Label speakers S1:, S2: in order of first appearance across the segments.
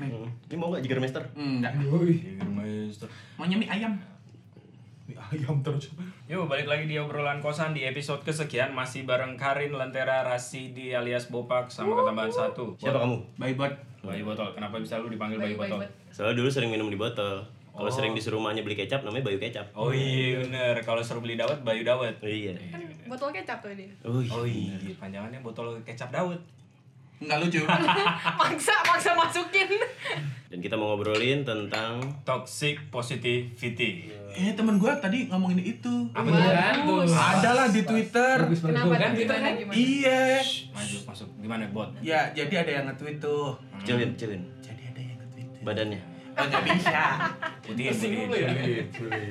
S1: Ini mau nggak Jigermeister?
S2: Enggak.
S3: Yoi,
S4: Jagermeister.
S2: Mau nyemi ayam.
S4: Mie ayam terus.
S3: Yuk balik lagi di obrolan kosan di episode kesekian masih bareng Karin Lentera Rasidi alias Bopak sama ketambahan satu.
S1: Siapa kamu?
S2: Bye bye.
S3: Bayi botol. Kenapa bisa lu dipanggil bayi,
S5: Bayu
S3: botol?
S5: Bayu.
S1: Soalnya dulu sering minum di botol. Kalau
S3: Oh.
S1: sering disuruh rumahnya beli kecap namanya Bayu Kecap.
S3: Oh iya bener. Kalau suruh beli dawet, bayu dawet.
S1: Iya.
S5: Kan botol kecap tuh ini.
S1: Oh iya.
S3: Oh iya, panjangannya botol kecap dawet.
S2: Enggak lucu.
S5: Maksa, maksa masukin.
S1: Dan kita mau ngobrolin tentang
S3: Toxic positivity.
S2: eh temen gue tadi ngomongin itu.
S3: Apa tuh?
S5: Bagus.
S4: Ada lah di Twitter.
S3: Bagus,
S5: Kenapa?
S3: Kan
S5: tuh?
S3: gitu
S5: gimana,
S3: kan?
S5: gimana?
S4: Iya.
S3: Shh, Maju masuk. Gimana bot?
S2: Ya, jadi ada yang nge-tweet tuh.
S1: kecilin, kecilin
S2: Jadi ada yang nge-tweet. tuh.
S1: badannya.
S2: Oh, nggak bisa.
S3: Putih, putih.
S4: Sulit, sulit.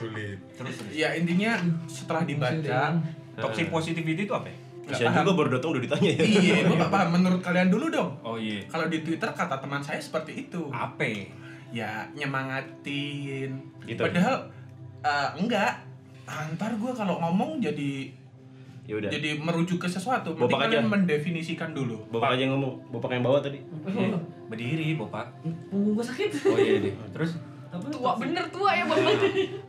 S4: Sulit.
S3: Terus terus.
S2: Ya intinya setelah dibaca,
S3: Toxic positivity itu apa? ya?
S1: Kasian juga baru datang udah ditanya ya.
S2: iya, gue nggak paham. Menurut kalian dulu dong.
S3: Oh iya.
S2: Kalau di Twitter kata teman saya seperti itu.
S3: Apa? ya?
S2: Ya nyemangatin.
S1: Gitu.
S2: Padahal eh, enggak. Antar gue kalau ngomong jadi
S1: Ya udah.
S2: jadi merujuk ke sesuatu. Mending
S1: Bopak
S2: kalian
S1: aja.
S2: mendefinisikan dulu.
S1: Bapak aja yang ngomong, bapak yang bawa tadi.
S3: Iya. Berdiri, Bopak.
S6: punggung gue sakit
S3: Oh iya deh. Terus
S6: apa
S5: Tua bener tua ya botol.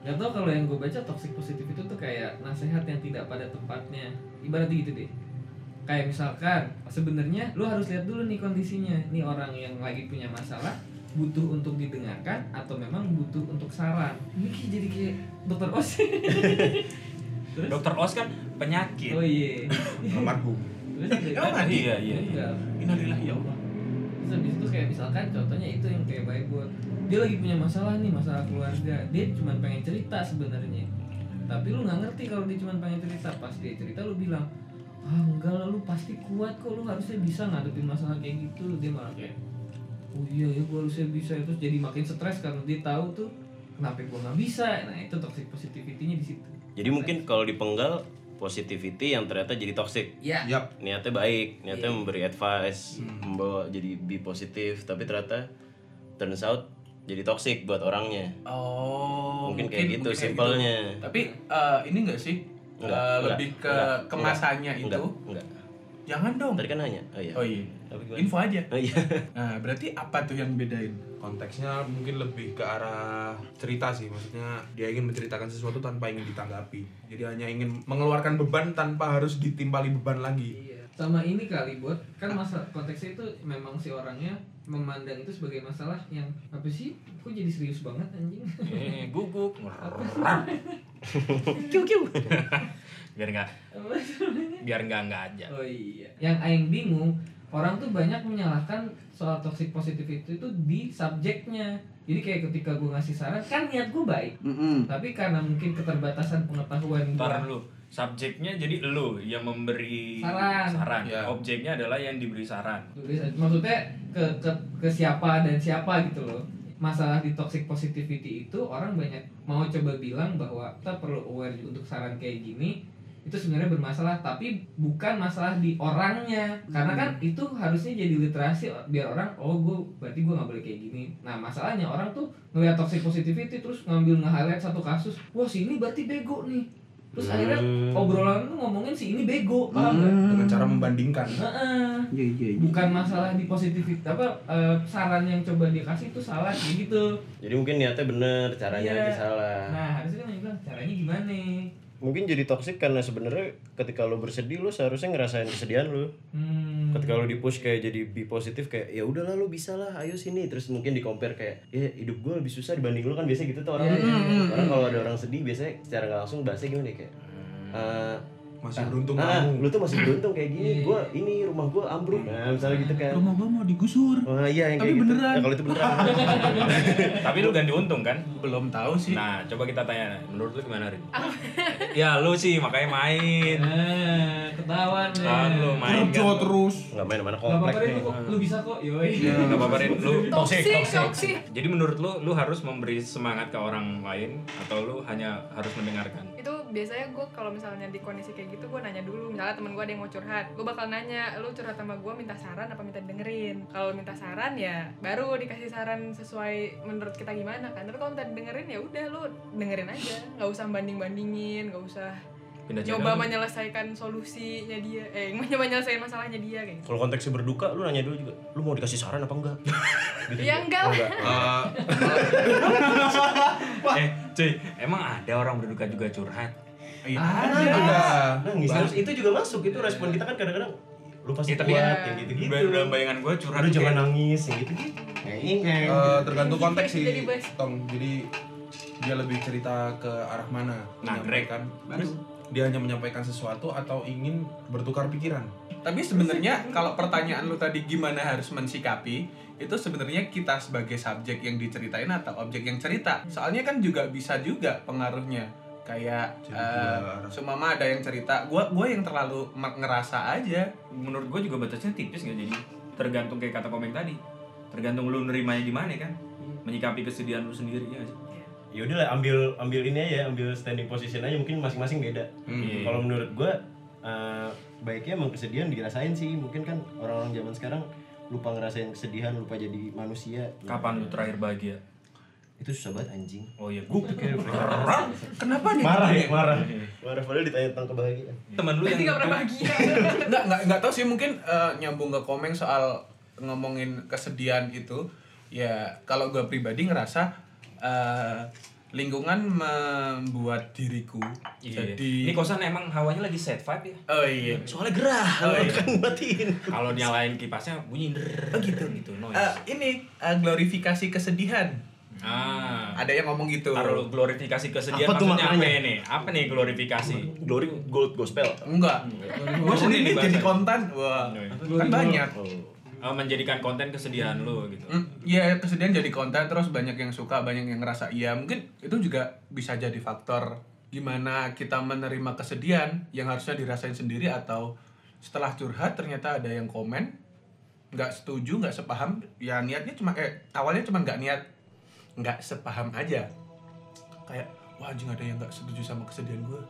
S6: Gak tau kalau yang gue baca toxic positif itu tuh kayak nasehat yang tidak pada tempatnya Ibaratnya gitu deh Kayak misalkan sebenarnya lu harus lihat dulu nih kondisinya Nih orang yang lagi punya masalah butuh untuk didengarkan atau memang butuh untuk saran Ini kayak jadi kayak dokter os Terus?
S3: Dokter Os kan penyakit.
S6: Oh iya
S4: Almarhum.
S6: Terus
S2: Emang
S6: kayak-
S2: mati?
S3: Iya iya iya.
S6: Enggak.
S2: Innalillahi ya Allah.
S6: Terus habis itu kayak misalkan contohnya itu yang kayak baik buat dia lagi punya masalah nih masalah keluarga dia cuma pengen cerita sebenarnya tapi lu nggak ngerti kalau dia cuma pengen cerita pas dia cerita lu bilang ah enggak lah lu pasti kuat kok lu harusnya bisa ngadepin masalah kayak gitu dia malah kayak oh iya ya gua harusnya bisa terus jadi makin stres karena dia tahu tuh kenapa gua nggak bisa nah itu toxic positivity-nya di situ
S1: Jadi mungkin kalau dipenggal positivity yang ternyata jadi toxic.
S6: ya
S4: Yap.
S1: Niatnya baik, niatnya
S3: Iya.
S1: memberi advice,
S3: Hmm.
S1: membawa jadi be positif, tapi ternyata turns out jadi toxic buat orangnya.
S2: Oh,
S1: mungkin, kayak gitu
S2: mungkin kayak
S1: simpelnya.
S2: gitu. Tapi eh, ini enggak sih? Eh,
S1: Enggak, enggak,
S2: lebih ke
S1: enggak,
S2: kemasannya itu.
S1: Enggak, enggak.
S2: Jangan dong.
S1: Tadi kan nanya. Oh iya.
S2: Oh iya.
S1: Tapi gimana?
S2: Info aja.
S1: Oh iya.
S2: Nah, berarti apa tuh yang bedain?
S4: konteksnya mungkin lebih ke arah cerita sih maksudnya dia ingin menceritakan sesuatu tanpa ingin ditanggapi jadi hanya ingin mengeluarkan beban tanpa harus ditimpali beban lagi
S6: sama Iya. ini kali buat kan masalah konteksnya itu memang si orangnya memandang itu sebagai masalah yang apa sih kok jadi serius banget anjing
S3: Eh, Guguk.
S5: Kiu kiu.
S3: Biar enggak
S6: Apa sih namanya?
S3: biar enggak enggak aja.
S6: oh iya yang aing bingung orang tuh banyak menyalahkan soal toxic positivity itu di subjeknya jadi kayak ketika gue ngasih saran kan niat gue baik tapi karena mungkin keterbatasan pengetahuan gue
S3: Ntar dulu. Subjeknya jadi lu yang memberi
S6: Saran.
S4: Ya.
S3: Objeknya adalah yang diberi saran.
S6: Tulis aja. maksudnya ke, ke ke siapa dan siapa gitu loh masalah di toxic positivity itu orang banyak mau coba bilang bahwa kita perlu aware untuk saran kayak gini itu sebenarnya bermasalah tapi bukan masalah di orangnya karena kan itu harusnya jadi literasi biar orang oh gue berarti gue nggak boleh kayak gini nah masalahnya orang tuh ngeliat toxic positivity terus ngambil nge-highlight satu kasus wah si ini berarti bego nih terus akhirnya obrolan tuh ngomongin si ini bego paham nggak?
S4: dengan cara membandingkan
S6: Heeh
S2: Iya, iya,
S6: bukan masalah di positivity apa eh, saran yang coba dia kasih itu salah kayak gitu
S1: Jadi mungkin niatnya bener, caranya
S6: Iya.
S1: aja salah.
S6: nah harusnya kan yang bilang caranya gimana
S1: Mungkin jadi toxic karena sebenarnya ketika lo bersedih lo seharusnya ngerasain kesedihan lo.
S6: hmm
S1: Ketika lo di push kayak jadi be positif kayak ya udahlah lo bisa lah, ayo sini. Terus mungkin di compare kayak ya hidup gue lebih susah dibanding lo kan biasanya gitu tuh orang.
S2: Hmm,
S6: Iya, iya,
S1: Orang kalau ada orang sedih biasanya secara nggak langsung bahasanya gimana ya, kayak
S2: Hmm.
S1: eh,
S4: masih beruntung
S1: ah,
S4: kamu
S1: lu tuh masih beruntung kayak gini, gue ini rumah gue ambruk, nah misalnya gitu kan.
S2: Iya. Rumah gua mau digusur.
S1: Wah iya yang
S2: Tapi
S1: kayak gitu.
S2: beneran.
S1: Ya, kalau itu beneran.
S3: Tapi lu ganti untung kan?
S2: Belum tahu sih.
S3: Nah, coba kita tanya. Menurut lu gimana, Rin? ya lu sih makanya main.
S6: nah ketahuan deh
S3: Ah, lu main
S4: kerja
S3: kan?
S4: terus
S1: Enggak main mana
S6: Gak
S1: komplek.
S6: apa-apa deh, lu, lu bisa kok, yoi
S1: Iya.
S3: Gak apa-apa, Rin. Lu toxic,
S5: Toxic,
S3: toxic.
S5: toxic.
S3: Jadi menurut lu, lu harus memberi semangat ke orang lain atau lu hanya harus mendengarkan?
S5: itu biasanya gue kalau misalnya di kondisi kayak gitu gue nanya dulu misalnya temen gue ada yang mau curhat gue bakal nanya lu curhat sama gue minta saran apa minta dengerin kalau minta saran ya baru dikasih saran sesuai menurut kita gimana kan tapi kalau minta dengerin ya udah lu dengerin aja nggak usah banding bandingin nggak usah
S3: pindah channel
S5: coba
S3: tuh.
S5: menyelesaikan solusinya dia eh menyelesaikan masalahnya dia kayak gitu
S1: Kalau konteksnya berduka, lu nanya dulu juga, lu mau dikasih saran apa enggak? Gitu juga.
S5: ya enggak
S1: Oh,
S5: lah
S4: Eh,
S3: eh cuy emang ada orang berduka juga curhat
S4: iya.
S1: Ah,
S6: Ada.
S4: Ada.
S1: kan? Nangis. Terus itu juga masuk, itu respon kita kan kadang-kadang lu pasti
S3: Ya, tapi-
S1: kuat, yang
S3: gitu.
S1: gitu-gitu.
S3: dalam bayangan gue curhat
S1: Lu
S3: tuh
S1: jangan
S3: kayak-
S1: nangis, yang gitu-gitu.
S4: Eh, tergantung konteks sih,
S5: Jadi bas.
S4: Tong. Jadi dia lebih cerita ke arah mana
S3: Nah, Greg.
S4: menyampaikan. Terus dia hanya menyampaikan sesuatu atau ingin bertukar pikiran.
S2: Tapi sebenarnya kalau pertanyaan lu tadi gimana harus mensikapi, itu sebenarnya kita sebagai subjek yang diceritain atau objek yang cerita. Soalnya kan juga bisa juga pengaruhnya. Kayak
S4: Jadi
S2: eh,
S4: dua arah.
S2: sumama ada yang cerita, gua gua yang terlalu mak- ngerasa aja.
S3: menurut gue juga batasnya tipis nggak jadi tergantung kayak kata komeng tadi tergantung lu nerimanya gimana kan menyikapi kesedihan lu sendiri ya nggak sih?
S1: Ya udah lah, ambil ambil ini aja, ambil standing position aja, mungkin masing-masing beda.
S3: Iya.
S1: Kalau menurut gua eh, baiknya emang kesedihan dirasain sih. Mungkin kan orang-orang zaman sekarang lupa ngerasain kesedihan, lupa jadi manusia.
S3: kapan lu terakhir bahagia
S1: Itu susah banget anjing.
S3: oh iya
S1: Gue
S3: gue
S2: Kenapa nih?
S1: marah ya, marah. Marah padahal ditanya tentang kebahagiaan.
S3: temen lu
S5: berarti
S3: yang
S5: nggak pernah bahagia
S2: nggak nggak nggak tahu sih mungkin eh, nyambung ke komeng soal ngomongin kesedihan itu ya kalau gue pribadi ngerasa eh, lingkungan membuat diriku
S3: Iya.
S2: jadi
S3: Ini kosan emang hawanya lagi set vibe ya.
S2: oh iya
S1: Soalnya gerah,
S2: Oh, iya.
S1: kan batin.
S3: Kalau nyalain kipasnya bunyi der gitu gitu noise.
S2: Eh, ini eh, glorifikasi kesedihan
S3: ah.
S2: ada yang ngomong gitu
S3: Taruh glorifikasi kesedihan
S1: Apa tuh
S3: maksudnya apa
S1: maknanya?
S3: ini? Apa nih glorifikasi?
S1: Glory Gold Gospel.
S2: enggak gue sendiri nih jadi konten wah kan banyak
S3: Eh, menjadikan konten kesedihan lu gitu.
S2: Mm, Iya kesedihan jadi konten terus banyak yang suka banyak yang ngerasa iya mungkin itu juga bisa jadi faktor gimana kita menerima kesedihan yang harusnya dirasain sendiri atau setelah curhat ternyata ada yang komen nggak setuju nggak sepaham ya niatnya cuma eh awalnya cuma nggak niat nggak sepaham aja kayak wah anjing ada yang nggak setuju sama kesedihan gue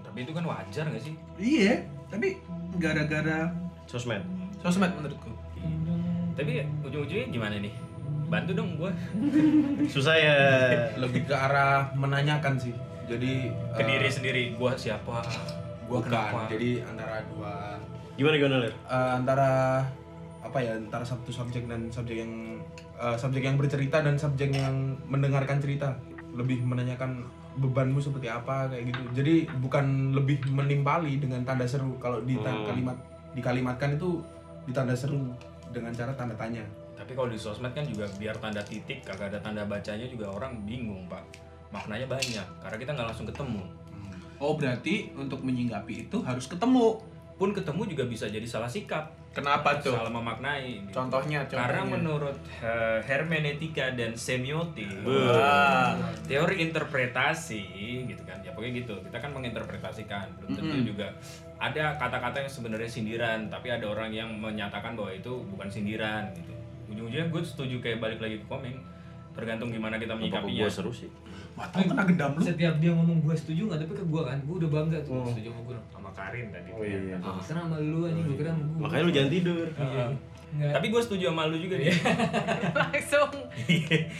S3: Tapi itu kan wajar gak sih?
S2: iya tapi gara-gara
S1: Sosmed.
S2: sosmed menurutku
S3: Tapi ujung-ujungnya gimana nih? Bantu dong gua.
S1: Susah ya.
S4: Lebih ke arah menanyakan Kan sih. Jadi
S3: Ke
S4: eh,
S3: diri sendiri, gua siapa?
S4: gua
S3: Bukan.
S4: kenapa. Jadi antara dua
S1: Gimana gimana Ler?
S4: eh, antara apa ya antara satu subjek dan subjek yang eh, subjek yang bercerita dan subjek yang mendengarkan cerita lebih menanyakan bebanmu seperti apa kayak gitu jadi bukan lebih menimpali dengan tanda seru kalau di ta-
S1: Hmm.
S4: kalimat dikalimatkan itu ditanda seru dengan cara tanda tanya
S3: Tapi kalau di sosmed kan juga biar tanda titik, kagak ada tanda bacanya juga orang bingung, Pak. Maknanya banyak karena kita nggak langsung ketemu.
S2: oh berarti untuk menyinggapi itu harus ketemu
S3: Pun ketemu juga bisa jadi salah sikap,
S2: kenapa tuh
S3: salah memaknai. gitu.
S2: contohnya contohnya
S3: Karena menurut eh, hermeneutika dan semiotik,
S2: Wah.
S3: teori interpretasi gitu kan, ya pokoknya gitu. Kita kan menginterpretasikan, belum tentu
S2: Mm-mm.
S3: juga ada kata-kata yang sebenarnya sindiran, tapi ada orang yang menyatakan bahwa itu bukan sindiran gitu. Ujung-ujungnya gue setuju kayak balik lagi ke komen, tergantung gimana kita
S1: Apa Oh, gua
S3: menyikapinya.
S1: seru sih?
S2: Wah, tau kena gendam lu.
S6: Setiap dia ngomong gue setuju nggak, tapi ke gue kan, gue udah bangga tuh
S1: Oh.
S6: setuju sama gue.
S3: Sama Karin tadi. kan.
S1: Oh, iya.
S6: Ah, karena sama lu aja, gue kira sama gue.
S1: Makanya lu jangan tidur.
S3: Heeh.
S1: iya.
S3: Tapi gue setuju sama lu juga nih.
S5: langsung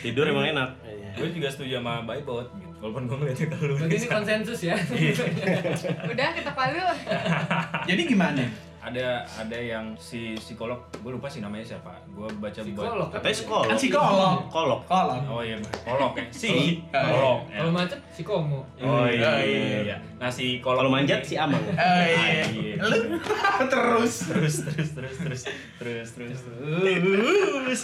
S1: Tidur emang enak.
S3: gue juga setuju sama Baybot gitu. Walaupun gue ngeliatnya ke lu.
S6: Berarti ini konsensus ya.
S1: Iya.
S5: udah kita palu Iya,
S2: Jadi gimana?
S3: ada ada yang si psikolog gue lupa sih namanya siapa gue baca
S6: Psikolog.
S3: buat
S1: Katanya sekolah.
S2: Kan psikolog.
S1: Kolok.
S2: Kolom.
S3: oh iya psikolog ya si psikolog ya.
S6: Kalau macet,
S3: oh
S6: psikomo.
S3: iya,
S2: Oh, iya.
S3: iya, iya. nah si kolog
S1: Kalau manjat
S3: ini-
S1: si Amang.
S2: Oh iya.
S3: Ah, iya.
S2: Lu terus.
S3: terus terus terus terus terus terus terus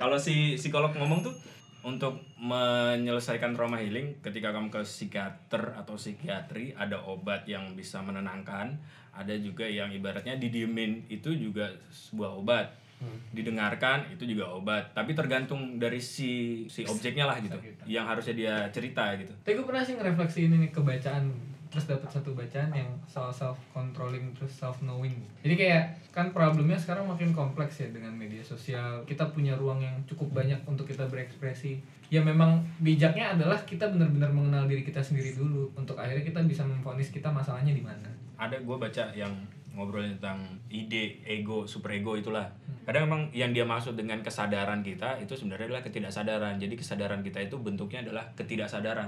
S3: kalau si psikolog ngomong tuh untuk menyelesaikan trauma healing ketika kamu ke psikiater atau psikiatri ada obat yang bisa menenangkan ada juga yang ibaratnya didiemin itu juga sebuah obat didengarkan itu juga obat tapi tergantung dari si si objeknya lah gitu yang harusnya dia cerita gitu
S6: Tapi gue pernah sih ngerefleksiin ini kebacaan terus dapat satu bacaan yang soal self controlling terus self knowing. Jadi kayak kan problemnya sekarang makin kompleks ya dengan media sosial. Kita punya ruang yang cukup banyak untuk kita berekspresi. Ya memang bijaknya adalah kita benar-benar mengenal diri kita sendiri dulu untuk akhirnya kita bisa memfonis kita masalahnya di mana.
S3: ada gue baca yang ngobrol tentang ide ego superego itulah kadang emang yang dia maksud dengan kesadaran kita itu sebenarnya adalah ketidaksadaran jadi kesadaran kita itu bentuknya adalah ketidaksadaran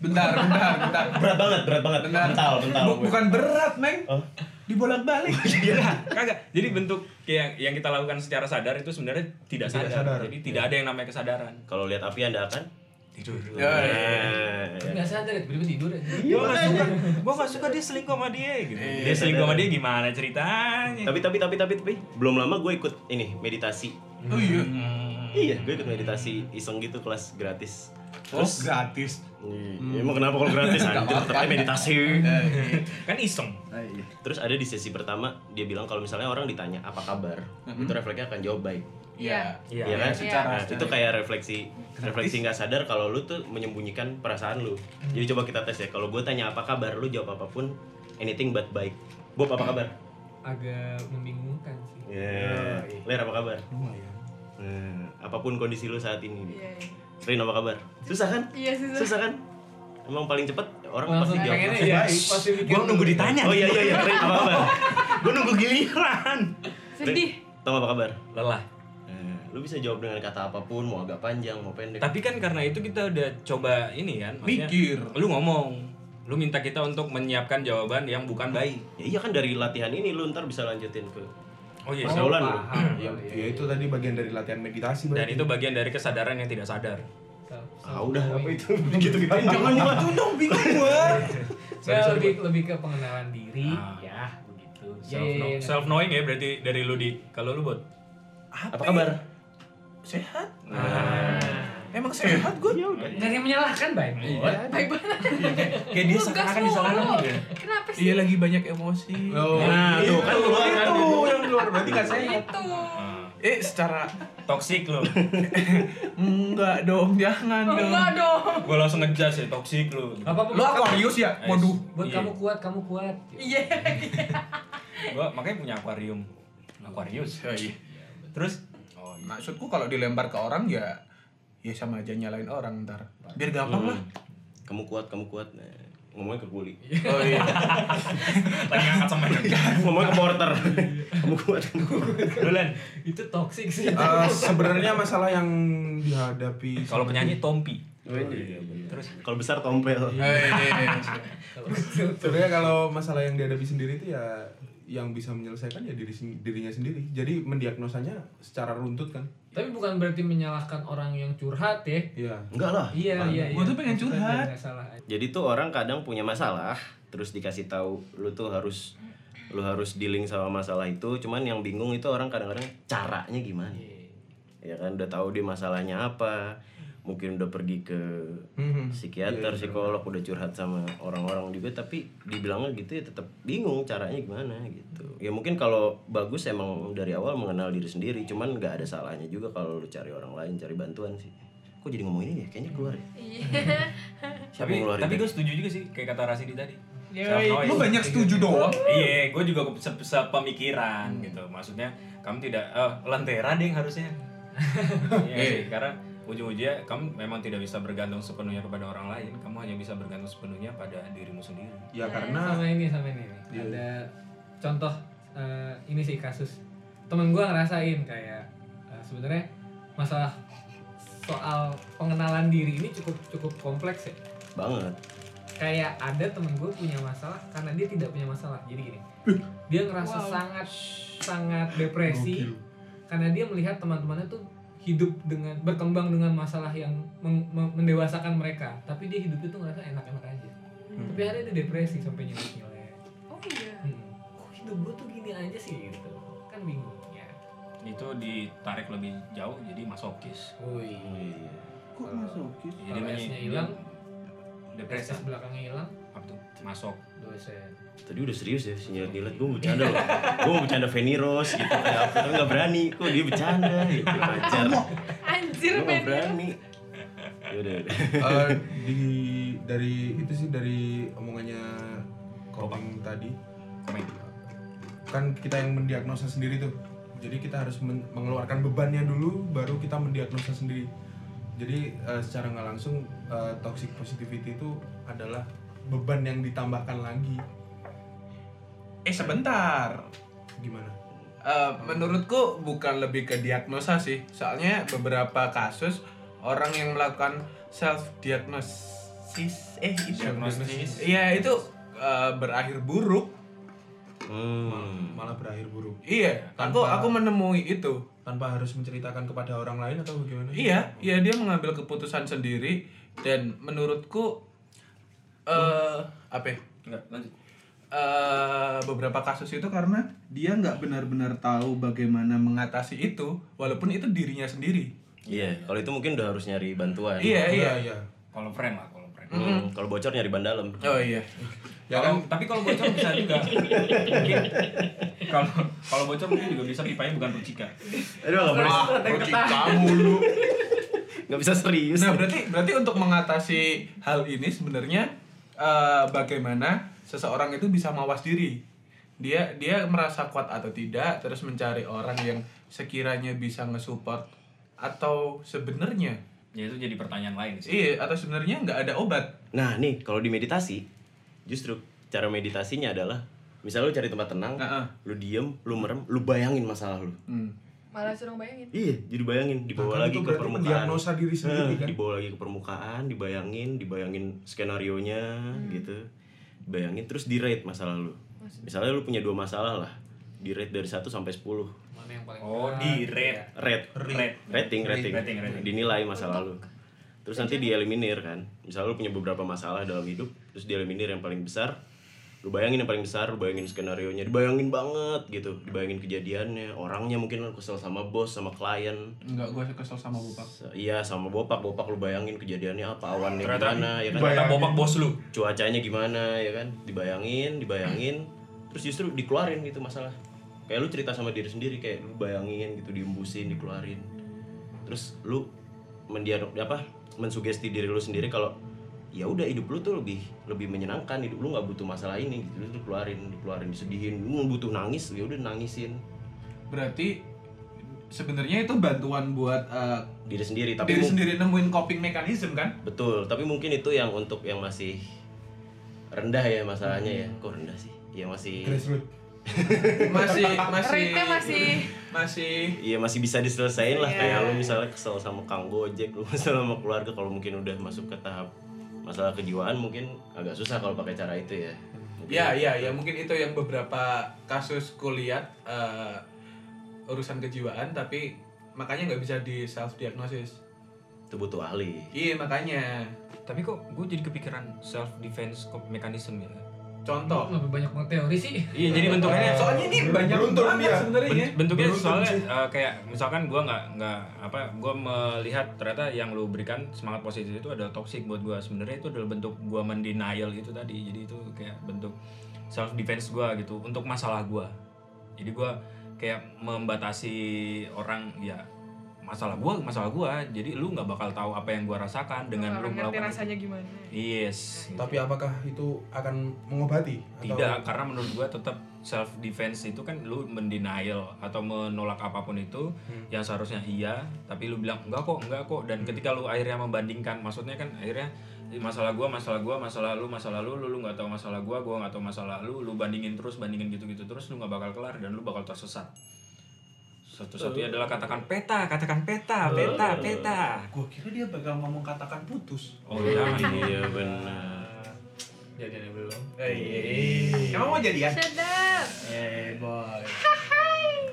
S2: Bentar, bentar, bentar.
S1: Berat banget, berat banget.
S2: Bentar.
S1: Mental, mental.
S2: Bu- bukan berat, Meng.
S1: Oh.
S2: Dibolak-balik. Iya.
S3: kagak jadi bentuk kayak yang kita lakukan secara sadar itu sebenarnya tidak sadar,
S4: sadar.
S3: jadi tidak ada yang namanya kesadaran
S1: Kalau lihat api Anda akan
S3: tidur
S2: Ya, ya.
S3: Iya.
S1: Nah,
S6: nggak sadar ya, tiba-tiba tidur aja.
S3: gue gak suka gue gak suka dia selingkuh sama dia gitu
S2: Iya,
S3: dia selingkuh sama
S1: sadar.
S3: dia gimana ceritanya
S1: Tapi tapi tapi tapi tapi belum lama gue ikut ini meditasi.
S2: Oh iya.
S1: Iya, gue ikut meditasi iseng gitu kelas gratis.
S2: Oh, gratis.
S1: Iya, Emang kenapa kalau gratis anjir tetap aja meditasi.
S2: Hmm. Eh,
S3: kan iseng
S1: Terus ada di sesi pertama dia bilang kalau misalnya orang ditanya apa kabar, itu refleksnya akan jawab baik.
S2: Iya.
S3: Iya.
S1: Iya kan?
S5: Secara-
S1: Nah, itu kayak refleksi refleksi nggak sadar kalau lu tuh menyembunyikan perasaan lu. Jadi coba kita tes ya. Kalau gue tanya apa kabar, lu jawab apapun anything but baik. Bob apa kabar?
S6: Agak membingungkan
S3: Iya.
S6: sih.
S1: Yeah. Iya. Ler apa kabar?
S4: Lumayan.
S1: Nah, apapun kondisi lu saat ini.
S5: Iya.
S1: Rin apa kabar? Susah kan?
S5: Iya sih.
S1: Susah kan? Emang paling cepet orang
S6: Langsung
S1: pasti jawab.
S6: pengennya ya, pasti mikir.
S3: gue Iya. nunggu ditanya
S1: Oh iya iya iya, Rin apa kabar?
S3: gue nunggu giliran
S5: Sedih.
S1: Tom apa kabar?
S3: lelah
S1: Nah, lu bisa jawab dengan kata apapun, mau agak panjang, mau pendek.
S3: tapi kan karena itu kita udah coba ini kan maksudnya
S2: Mikir.
S3: lu ngomong lu minta kita untuk menyiapkan jawaban yang bukan baik
S1: ya, iya kan dari latihan ini lu ntar bisa lanjutin ke
S3: oh iya
S1: pergaulan lu.
S6: Hmm,
S4: Ya, ya itu tadi bagian dari latihan meditasi
S3: dan
S4: berarti.
S3: itu bagian dari kesadaran yang tidak sadar
S1: Ah udah apa itu begitu gitu.
S4: kan?
S1: Jangan
S2: dong, bingung gua.
S6: Ya, lebih lebih ke pengenalan diri,
S3: Ah.
S6: ya begitu. Ya,
S3: self,
S6: ya, ya.
S3: self knowing ya berarti dari lu di kalau lu buat
S1: Apa kabar?
S2: Sehat?
S6: Nah.
S2: Emang sehat gua?
S6: Nggak ada yang menyalahkan, baik.
S2: Iya.
S5: Baik banget.
S3: kayak dia
S5: Lu gas
S2: kan
S3: seakan-akan
S5: lu,
S3: disalahkan
S5: lu.
S3: gitu ya.
S5: Kenapa sih?
S2: Iya lagi banyak emosi.
S1: Nah,
S3: Iya.
S1: tuh kan
S4: itu,
S1: keluar kan.
S4: itu yang keluar Oh, berarti nggak sehat.
S5: Itu.
S2: Eh, secara
S3: toxic lu
S2: enggak dong, jangan
S5: Oh,
S2: dong.
S5: enggak dong.
S3: gue langsung ngejas ya toxic lu
S6: Gak apa-apa.
S2: Lo
S6: buat kamu-
S2: Aquarius ya?
S3: Eh,
S2: Waduh.
S6: Buat
S3: iya.
S6: kamu kuat, kamu kuat.
S5: Iya.
S3: gua makanya punya akuarium Aquarius terus oh iya
S2: Maksudku kalau dilempar ke orang ya ya sama aja nyalain orang ntar. Biar gampang lah.
S1: Kamu kuat, kamu kuat. Nah, ngomongnya ke kuli.
S2: Oh iya.
S3: lagi ngangkat sama
S1: ngomongnya ke porter. kamu kuat. kamu kuat.
S3: Bulan
S6: Itu toxic sih.
S2: Ah.
S4: Eh, sebenarnya masalah yang dihadapi
S3: kalau penyanyi Tompi
S1: Terus kalau besar tompel.
S2: Iya.
S4: sebenarnya kalau masalah yang dihadapi sendiri itu ya yang bisa menyelesaikan ya diri sen- dirinya sendiri. Jadi mendiagnosanya secara runtut kan.
S6: Tapi bukan berarti menyalahkan orang yang curhat ya.
S4: Iya.
S1: Enggak lah. Ah,
S6: Iya, iya, iya.
S2: Gua tuh pengen curhat.
S6: Nggak salah.
S1: Jadi tuh orang kadang punya masalah, terus dikasih tahu lu tuh harus lu harus dealing sama masalah itu. Cuman yang bingung itu orang kadang-kadang caranya gimana. Ya
S3: Iya.
S1: kan udah tahu dia masalahnya apa. Mungkin udah pergi ke Hmm.
S3: Iya,
S1: psikiater, psikolog, udah curhat sama orang-orang juga tapi dibilangnya gitu ya tetap bingung caranya gimana gitu. Ya mungkin kalau bagus emang dari awal mengenal diri sendiri, cuman nggak ada salahnya juga kalau lu cari orang lain, cari bantuan sih. Kok jadi ngomong ini ya? Kayaknya keluar ya.
S5: Iya.
S1: Siapa
S3: tapi
S1: yang ngeluarin
S3: tapi
S1: tadi?
S3: gue setuju juga sih kayak kata Rasidi tadi
S5: Yoi.
S3: Self-knowing.
S2: Lu banyak setuju doang.
S3: iya gue juga se- sepemikiran gitu maksudnya kamu tidak eh, lentera deh harusnya iya
S2: Iya.
S3: sih karena ujung-ujungnya kamu memang tidak bisa bergantung sepenuhnya kepada orang lain kamu hanya bisa bergantung sepenuhnya pada dirimu sendiri
S4: Ya karena
S6: sama ini sama ini nih.
S2: Iya,
S6: ada contoh eh, ini sih kasus temen gue ngerasain kayak eh, sebenarnya masalah soal pengenalan diri ini cukup cukup kompleks ya
S1: Banget.
S6: kayak ada temen gue punya masalah karena dia tidak punya masalah jadi gini dia ngerasa
S5: Wow.
S6: sangat sangat depresi karena dia melihat teman-temannya tuh hidup dengan berkembang dengan masalah yang meng- meng- mendewasakan mereka tapi dia hidupnya tuh ngerasa enak-enak aja
S3: Hmm.
S6: tapi akhirnya dia depresi sampai nyelek-nyelek
S5: Oh iya.
S6: Hmm. kok hidup gue tuh gini aja sih gitu kan bingung ya
S3: itu ditarik lebih jauh jadi masokis
S6: woi
S1: Oh, iya,
S2: Kok masukis?
S3: jadi
S6: Kalau
S3: menyi-
S6: S-nya hilang,
S3: depresi
S6: prestasi belakangnya hilang
S3: apa tuh masok
S6: dosen
S1: Tadi udah serius ya, sinyal nyilet gue bercanda loh Gue mau bercanda Feni Rose gitu kayak apa, tapi gak berani Kok dia bercanda gitu, wajar
S5: Anjir,
S1: Gue gak
S5: men.
S1: berani Ya Yaudah, yaudah
S4: eh, di dari itu sih dari omongannya Komeng tadi
S3: komen
S4: kan kita yang mendiagnosa sendiri tuh jadi kita harus men- mengeluarkan bebannya dulu baru kita mendiagnosa sendiri jadi eh, secara nggak langsung eh, toxic positivity itu adalah beban yang ditambahkan lagi
S2: Eh sebentar.
S4: gimana
S2: Eh, menurutku bukan lebih ke diagnosa sih. Soalnya beberapa kasus orang yang melakukan self diagnosis diagnosis eh itu
S3: Diagnosis.
S2: iya itu eh, berakhir buruk
S1: Hmm.
S4: malah berakhir buruk
S2: iya aku
S4: Tanpa-
S2: aku menemui itu
S4: tanpa harus menceritakan kepada orang lain atau bagaimana?
S2: Iya, iya dia mengambil keputusan sendiri dan menurutku eh apa? ya?
S3: Enggak, lanjut.
S2: Eh, beberapa kasus itu karena dia nggak benar-benar tahu bagaimana mengatasi itu, walaupun itu dirinya sendiri.
S1: Iya, kalau itu mungkin udah harus nyari bantuan.
S2: Iya, iya.
S4: iya iya.
S3: Kalau friend lah, kalau friend.
S1: Hmm, kalau bocor nyari ban dalam.
S2: Oh iya.
S4: Ya
S3: Kalau- tapi kalau bocor bisa juga. Mungkin. Kalau kalau bocor mungkin juga bisa pipanya bukan percikan.
S1: Aduh, nggak boleh.
S4: kamu lu.
S1: Nggak bisa serius.
S2: Nah berarti berarti untuk mengatasi hal ini sebenarnya eh, bagaimana seseorang itu bisa mawas diri. Dia dia merasa kuat atau tidak, terus mencari orang yang sekiranya bisa ngesupport atau sebenarnya
S3: Ya itu jadi pertanyaan lain sih.
S2: iya atau sebenarnya nggak ada obat.
S1: Nah, nih kalau di meditasi, justru cara meditasinya adalah misalnya lu cari tempat tenang,
S2: Heeh.
S1: lu diem, lu merem, lu bayangin masalah lu.
S2: Hmm.
S5: malah suruh bayangin
S1: Iya, jadi bayangin dibawa
S4: Bahkan
S1: lagi
S4: itu
S1: ke
S4: berarti
S1: permukaan.
S4: mendiagnosa diri sendiri
S1: Eh,
S4: kan?
S1: dibawa lagi ke permukaan, dibayangin, dibayangin skenario nya gitu. Dibayangin terus di-rate masalah lu. Misalnya lu punya dua masalah lah, di-rate dari 1 sampai 10.
S7: mana yang paling
S3: Oh,
S7: berat,
S3: di
S7: gitu
S3: red.
S7: ya.
S1: Rate,
S3: Red.
S1: rating, rating,
S3: Rating, rating.
S1: Dinilai masalah lu. Terus nanti dieliminir kan. Misalnya lu punya beberapa masalah dalam hidup, terus dieliminir yang paling besar. Lu bayangin yang paling besar, lu bayangin skenario nya, dibayangin banget gitu, dibayangin kejadiannya, orangnya mungkin lu kesel sama bos, sama klien,
S2: Nggak gue kesel sama bapak.
S1: Se- Iya sama bopak, bopak lu bayangin kejadiannya apa, awannya gimana, ya kan?
S3: Ternyata bopak bos lu.
S1: Cuacanya gimana, ya kan? Dibayangin, dibayangin, terus justru dikeluarin gitu masalah. Kayak lu cerita sama diri sendiri, kayak lu bayangin gitu, diembusin, dikeluarin. Terus lu mendialog apa? Mensugesti diri lu sendiri kalau ya udah hidup lu tuh lebih lebih menyenangkan hidup lu nggak butuh masalah ini gitu lu keluarin dikeluarin disedihin lu butuh nangis ya udah nangisin
S2: Berarti sebenarnya itu bantuan buat eh,
S1: diri sendiri tapi
S2: diri
S1: mung-
S2: sendiri nemuin coping mechanism kan?
S1: Betul, tapi mungkin itu yang untuk yang masih rendah ya masalahnya ya. Kok rendah sih? Ya masih
S4: Grassroots.
S2: Masih masih
S5: Rate-nya masih-
S2: masih
S1: Iya masih bisa diselesain lah kayak
S5: Iya.
S1: lu misalnya kesel sama Kang Gojek, lu kesel sama keluarga kalau mungkin udah masuk ke tahap masalah kejiwaan mungkin agak susah kalau pakai cara itu ya. Mungkin-
S2: Ya, ya, ya mungkin itu yang beberapa kasus kulihat eh, urusan kejiwaan tapi makanya nggak bisa di self diagnosis.
S1: Itu butuh ahli.
S2: Iya makanya.
S3: Tapi kok gue jadi kepikiran self defense mechanism ya.
S7: Kok
S2: Contoh.
S7: lebih banyak banget teori sih
S3: Iya, jadi bentuknya
S2: Soalnya ini banyak banget
S4: Beruntun dia.
S7: Oh, iya.
S2: sebenarnya.
S3: Bent- bentuknya
S4: Beruntun
S3: soalnya
S4: sih.
S3: uh, kayak misalkan gua nggak nggak apa gua melihat ternyata yang lu berikan semangat positif itu adalah toxic buat gua sebenarnya itu adalah bentuk gua mendenial itu tadi jadi itu kayak bentuk self defense gua gitu untuk masalah gua jadi gua kayak membatasi orang ya masalah gua masalah gua jadi lu nggak bakal tahu apa yang gua rasakan dengan lu
S5: Orang Oh, ngerti
S3: melakukan
S5: rasanya gimana
S3: yes gitu.
S4: Tapi apakah itu akan mengobati? Atau-
S3: Tidak, karena menurut gua tetap self defense itu kan lu mendenial atau menolak apapun itu yang seharusnya iya, tapi lu bilang enggak kok, enggak kok dan ketika lu akhirnya membandingkan, maksudnya kan akhirnya "Ih, masalah gua, masalah gua, masalah lu, masalah lu, lu lu nggak tahu masalah gua, gua nggak tahu masalah lu, lu bandingin terus, bandingin gitu-gitu terus lu nggak bakal kelar dan lu bakal tersesat. Satu-satunya adalah katakan peta, katakan peta, peta, peta.
S2: Gua kira dia bakal ngomong katakan putus.
S3: Oh, jangan.
S1: Iya benar.
S2: Nah,
S7: jadinya belum
S2: Eh, Emang mau ya? jadian?
S5: sedap
S2: iya, Eh boy.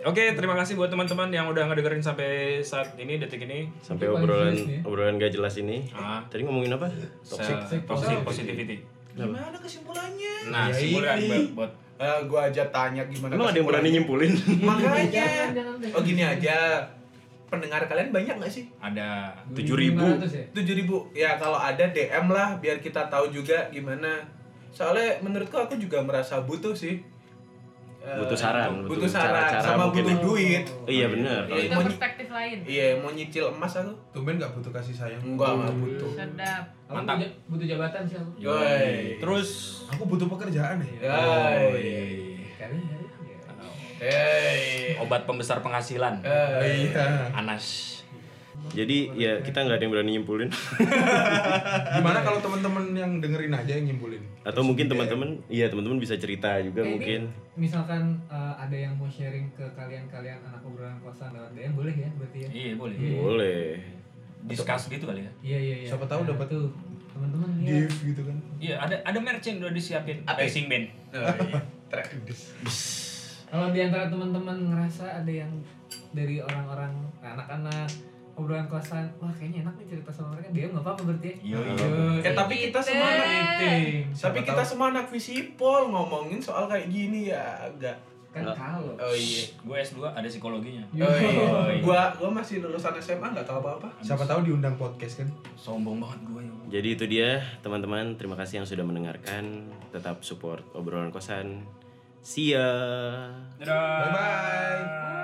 S3: Oke, terima kasih buat teman-teman yang udah ngedengerin sampai saat ini detik ini.
S1: Sampai
S7: Itu paling
S1: obrolan
S7: serius
S2: ya.
S7: nih.
S1: obrolan gak jelas ini.
S3: Ah.
S1: Tadi ngomongin apa? Toxic.
S3: Se- toxic positivity.
S2: Gimana kesimpulannya? iya,
S3: Nah, simpulan buat, buat
S2: Eh, gua aja tanya
S1: Iya,
S2: gimana.
S1: Emang ada yang berani
S2: kesimpulannya.
S1: nyimpulin?
S2: Makanya.
S7: Jangan, jangan, jangan.
S2: Oh gini aja. Pendengar kalian banyak nggak sih?
S3: ada
S1: 7.000.
S7: 2500 ya?
S2: 7000 ya kalau ada DM lah biar kita tahu juga gimana soalnya menurutku aku juga merasa butuh sih Eh,
S1: Butuh saran,
S2: butuh,
S1: butuh
S2: saran
S1: cara-cara
S2: sama
S1: mungkin
S2: butuh
S1: ya.
S2: duit
S1: Iya benar.
S2: Iya,
S5: itu
S2: mau-
S5: perspektif lain
S2: iya mau nyicil emas aku
S4: Tumben nggak butuh kasih sayang.
S2: enggak enggak butuh
S5: sedap
S7: Aku
S3: Mantap.
S7: butuh- butuh jabatan sih aku
S2: Yoi.
S3: terus
S4: Aku butuh pekerjaan ya.
S2: Yoi.
S7: Kalian nyari ya.
S2: Yoi.
S3: obat pembesar penghasilan
S4: Eh.
S2: Yoi.
S4: Iya.
S3: Anas
S1: Jadi ya kita nggak ada yang berani nyimpulin.
S4: Gimana kalau teman-teman yang dengerin aja yang nyimpulin?
S1: Atau mungkin teman-teman, iya teman-teman bisa cerita juga
S7: Maybe
S1: mungkin.
S7: misalkan eh, ada yang mau sharing ke kalian-kalian anak obrolan kosan lewat DM boleh ya berarti ya
S3: iya boleh
S7: Hmm.
S1: Boleh.
S3: discuss gitu kali ya
S7: iya iya iya
S4: Siapa tahu dapat
S7: tuh
S6: Nah, teman-teman ya
S2: Div gitu kan.
S3: Iya, ada ada merch yang udah disiapin.
S1: Apa? ya?
S3: Racing band.
S6: kalau diantara teman-teman ngerasa ada yang dari orang-orang nah, anak-anak obrolan kosan wah kayaknya enak nih cerita sama mereka dia nggak apa-apa berarti ya
S3: Iya,
S2: Eh tapi kita
S5: Gitu.
S2: semua anak
S6: Ting.
S2: tapi kita semua anak visipol ngomongin soal kayak gini ya agak
S8: kan
S1: Nggak.
S8: kalau
S2: oh iya
S3: Gue S2 ada psikologinya.
S2: oh iya
S3: Oh, iya.
S2: gua gua masih lulusan SMA nggak tahu apa apa
S3: Siapa
S2: tahu diundang podcast kan
S3: Sombong banget gue ya.
S1: Jadi itu dia teman-teman, terima kasih yang sudah mendengarkan. Tetap support obrolan kosan. See ya.
S3: Dadah.
S2: bye bye